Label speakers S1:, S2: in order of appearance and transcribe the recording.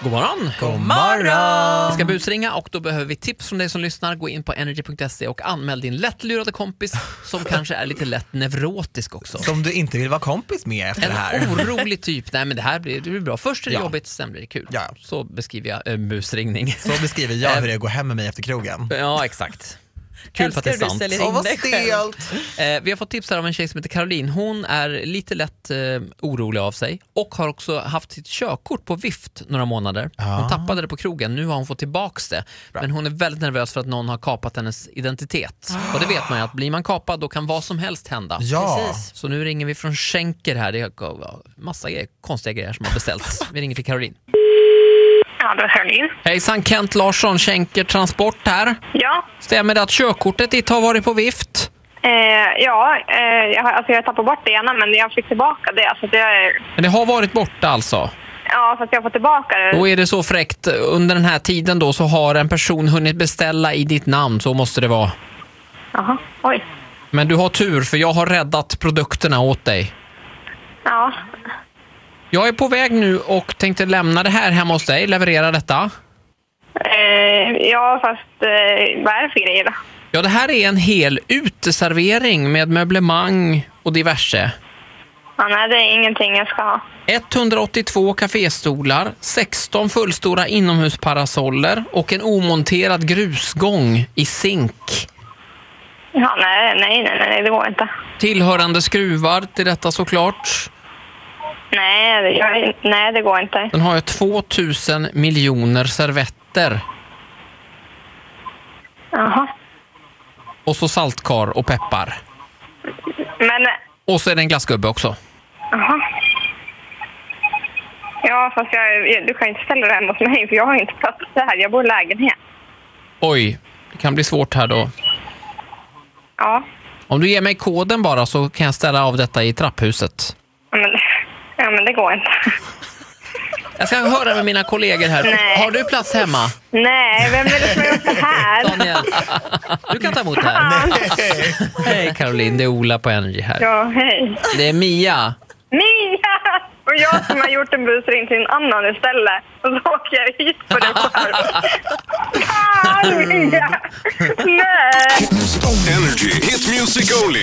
S1: God morgon!
S2: God morgon!
S1: Vi ska busringa och då behöver vi tips från dig som lyssnar. Gå in på energy.se och anmäl din lättlurade kompis som kanske är lite lätt neurotisk också.
S2: Som du inte vill vara kompis med efter det här.
S1: En orolig typ. Nej men det här blir, det blir bra. Först är det
S2: Ja.
S1: jobbigt, sen blir det kul.
S2: Ja.
S1: Så beskriver jag eh, busringning.
S2: Så beskriver jag hur det går hem med mig efter krogen.
S1: Ja, exakt. Kul för att det är
S3: Älskar du
S1: sant.
S3: säljer
S2: Åh vad
S3: dig själv.
S2: stelt!
S1: Eh, vi har fått tips här av en tjej som heter Caroline. Hon är lite lätt eh, orolig av sig och har också haft sitt körkort på vift några månader. Hon tappade det på krogen, nu har hon fått tillbaks det. Men hon är väldigt nervös för att någon har kapat hennes identitet. Och det vet man ju att blir man kapad då kan vad som helst hända.
S2: Ja,
S3: Precis.
S1: Så nu ringer vi från Schenker här. Det är ja, massa grejer, konstiga grejer som har beställts. Vi ringer till Caroline.
S4: Ja, det är Caroline.
S1: Hejsan, Kent Larsson, Schenker Transport här.
S4: Ja,
S1: Stämmer det att körkortet ditt har varit på vift?
S4: eh, ja eh, jag, har- alltså jag tappade bort det ena, men jag fick tillbaka det. Så att jag,
S1: Men det har varit borta alltså?
S4: ja, så att jag får tillbaka det.
S1: Då är det så fräckt, under den här tiden då så har en person hunnit beställa i ditt namn, så måste det vara.
S4: Jaha, oj.
S1: Men du har tur för jag har räddat produkterna åt dig.
S4: Ja,
S1: Jag är på väg nu och tänkte lämna det här hemma hos dig, leverera detta.
S4: eh, ja fast eh, vad är det för grejer då?
S1: Ja, det här är en hel uteservering med möblemang och diverse.
S4: Ja, nej, det är ingenting jag ska ha.
S1: 182 kaféstolar, 16 fullstora inomhusparasoller och en omonterad grusgång i zink.
S4: Ja, nej, nej, nej, nej, det går inte.
S1: Tillhörande skruvar till detta såklart.
S4: Nej, det, jag, nej, det går inte.
S1: Den har ju 2000 miljoner servetter
S4: Jaha.
S1: och så saltkar och peppar.
S4: Men, eh,
S1: Och så är det en glassgubbe också.
S4: jaha. Ja, fast jag, jag, du kan inte ställa det hemma hos mig, för jag har inte plats här. Jag bor i lägenhet.
S1: Oj, det kan bli svårt här då.
S4: Ja,
S1: Om du ger mig koden bara så kan jag ställa av detta i trapphuset.
S4: ja, men, ja, men det går inte.
S1: Jag ska höra med mina kollegor här.
S4: Nej.
S1: Har du plats hemma,
S4: Nej, vem är det som har gjort det här?
S1: Daniel? Du kan ta emot det här.
S2: Nej.
S1: Hej Caroline, det är Ola på Energy här.
S4: Ja, hej.
S1: Det är Mia.
S4: Mia! Och jag som har gjort en busring till en annan istället. Och så åker jag hit på den själv. Fan, Mia! Nej!
S5: Energy. Hit music only.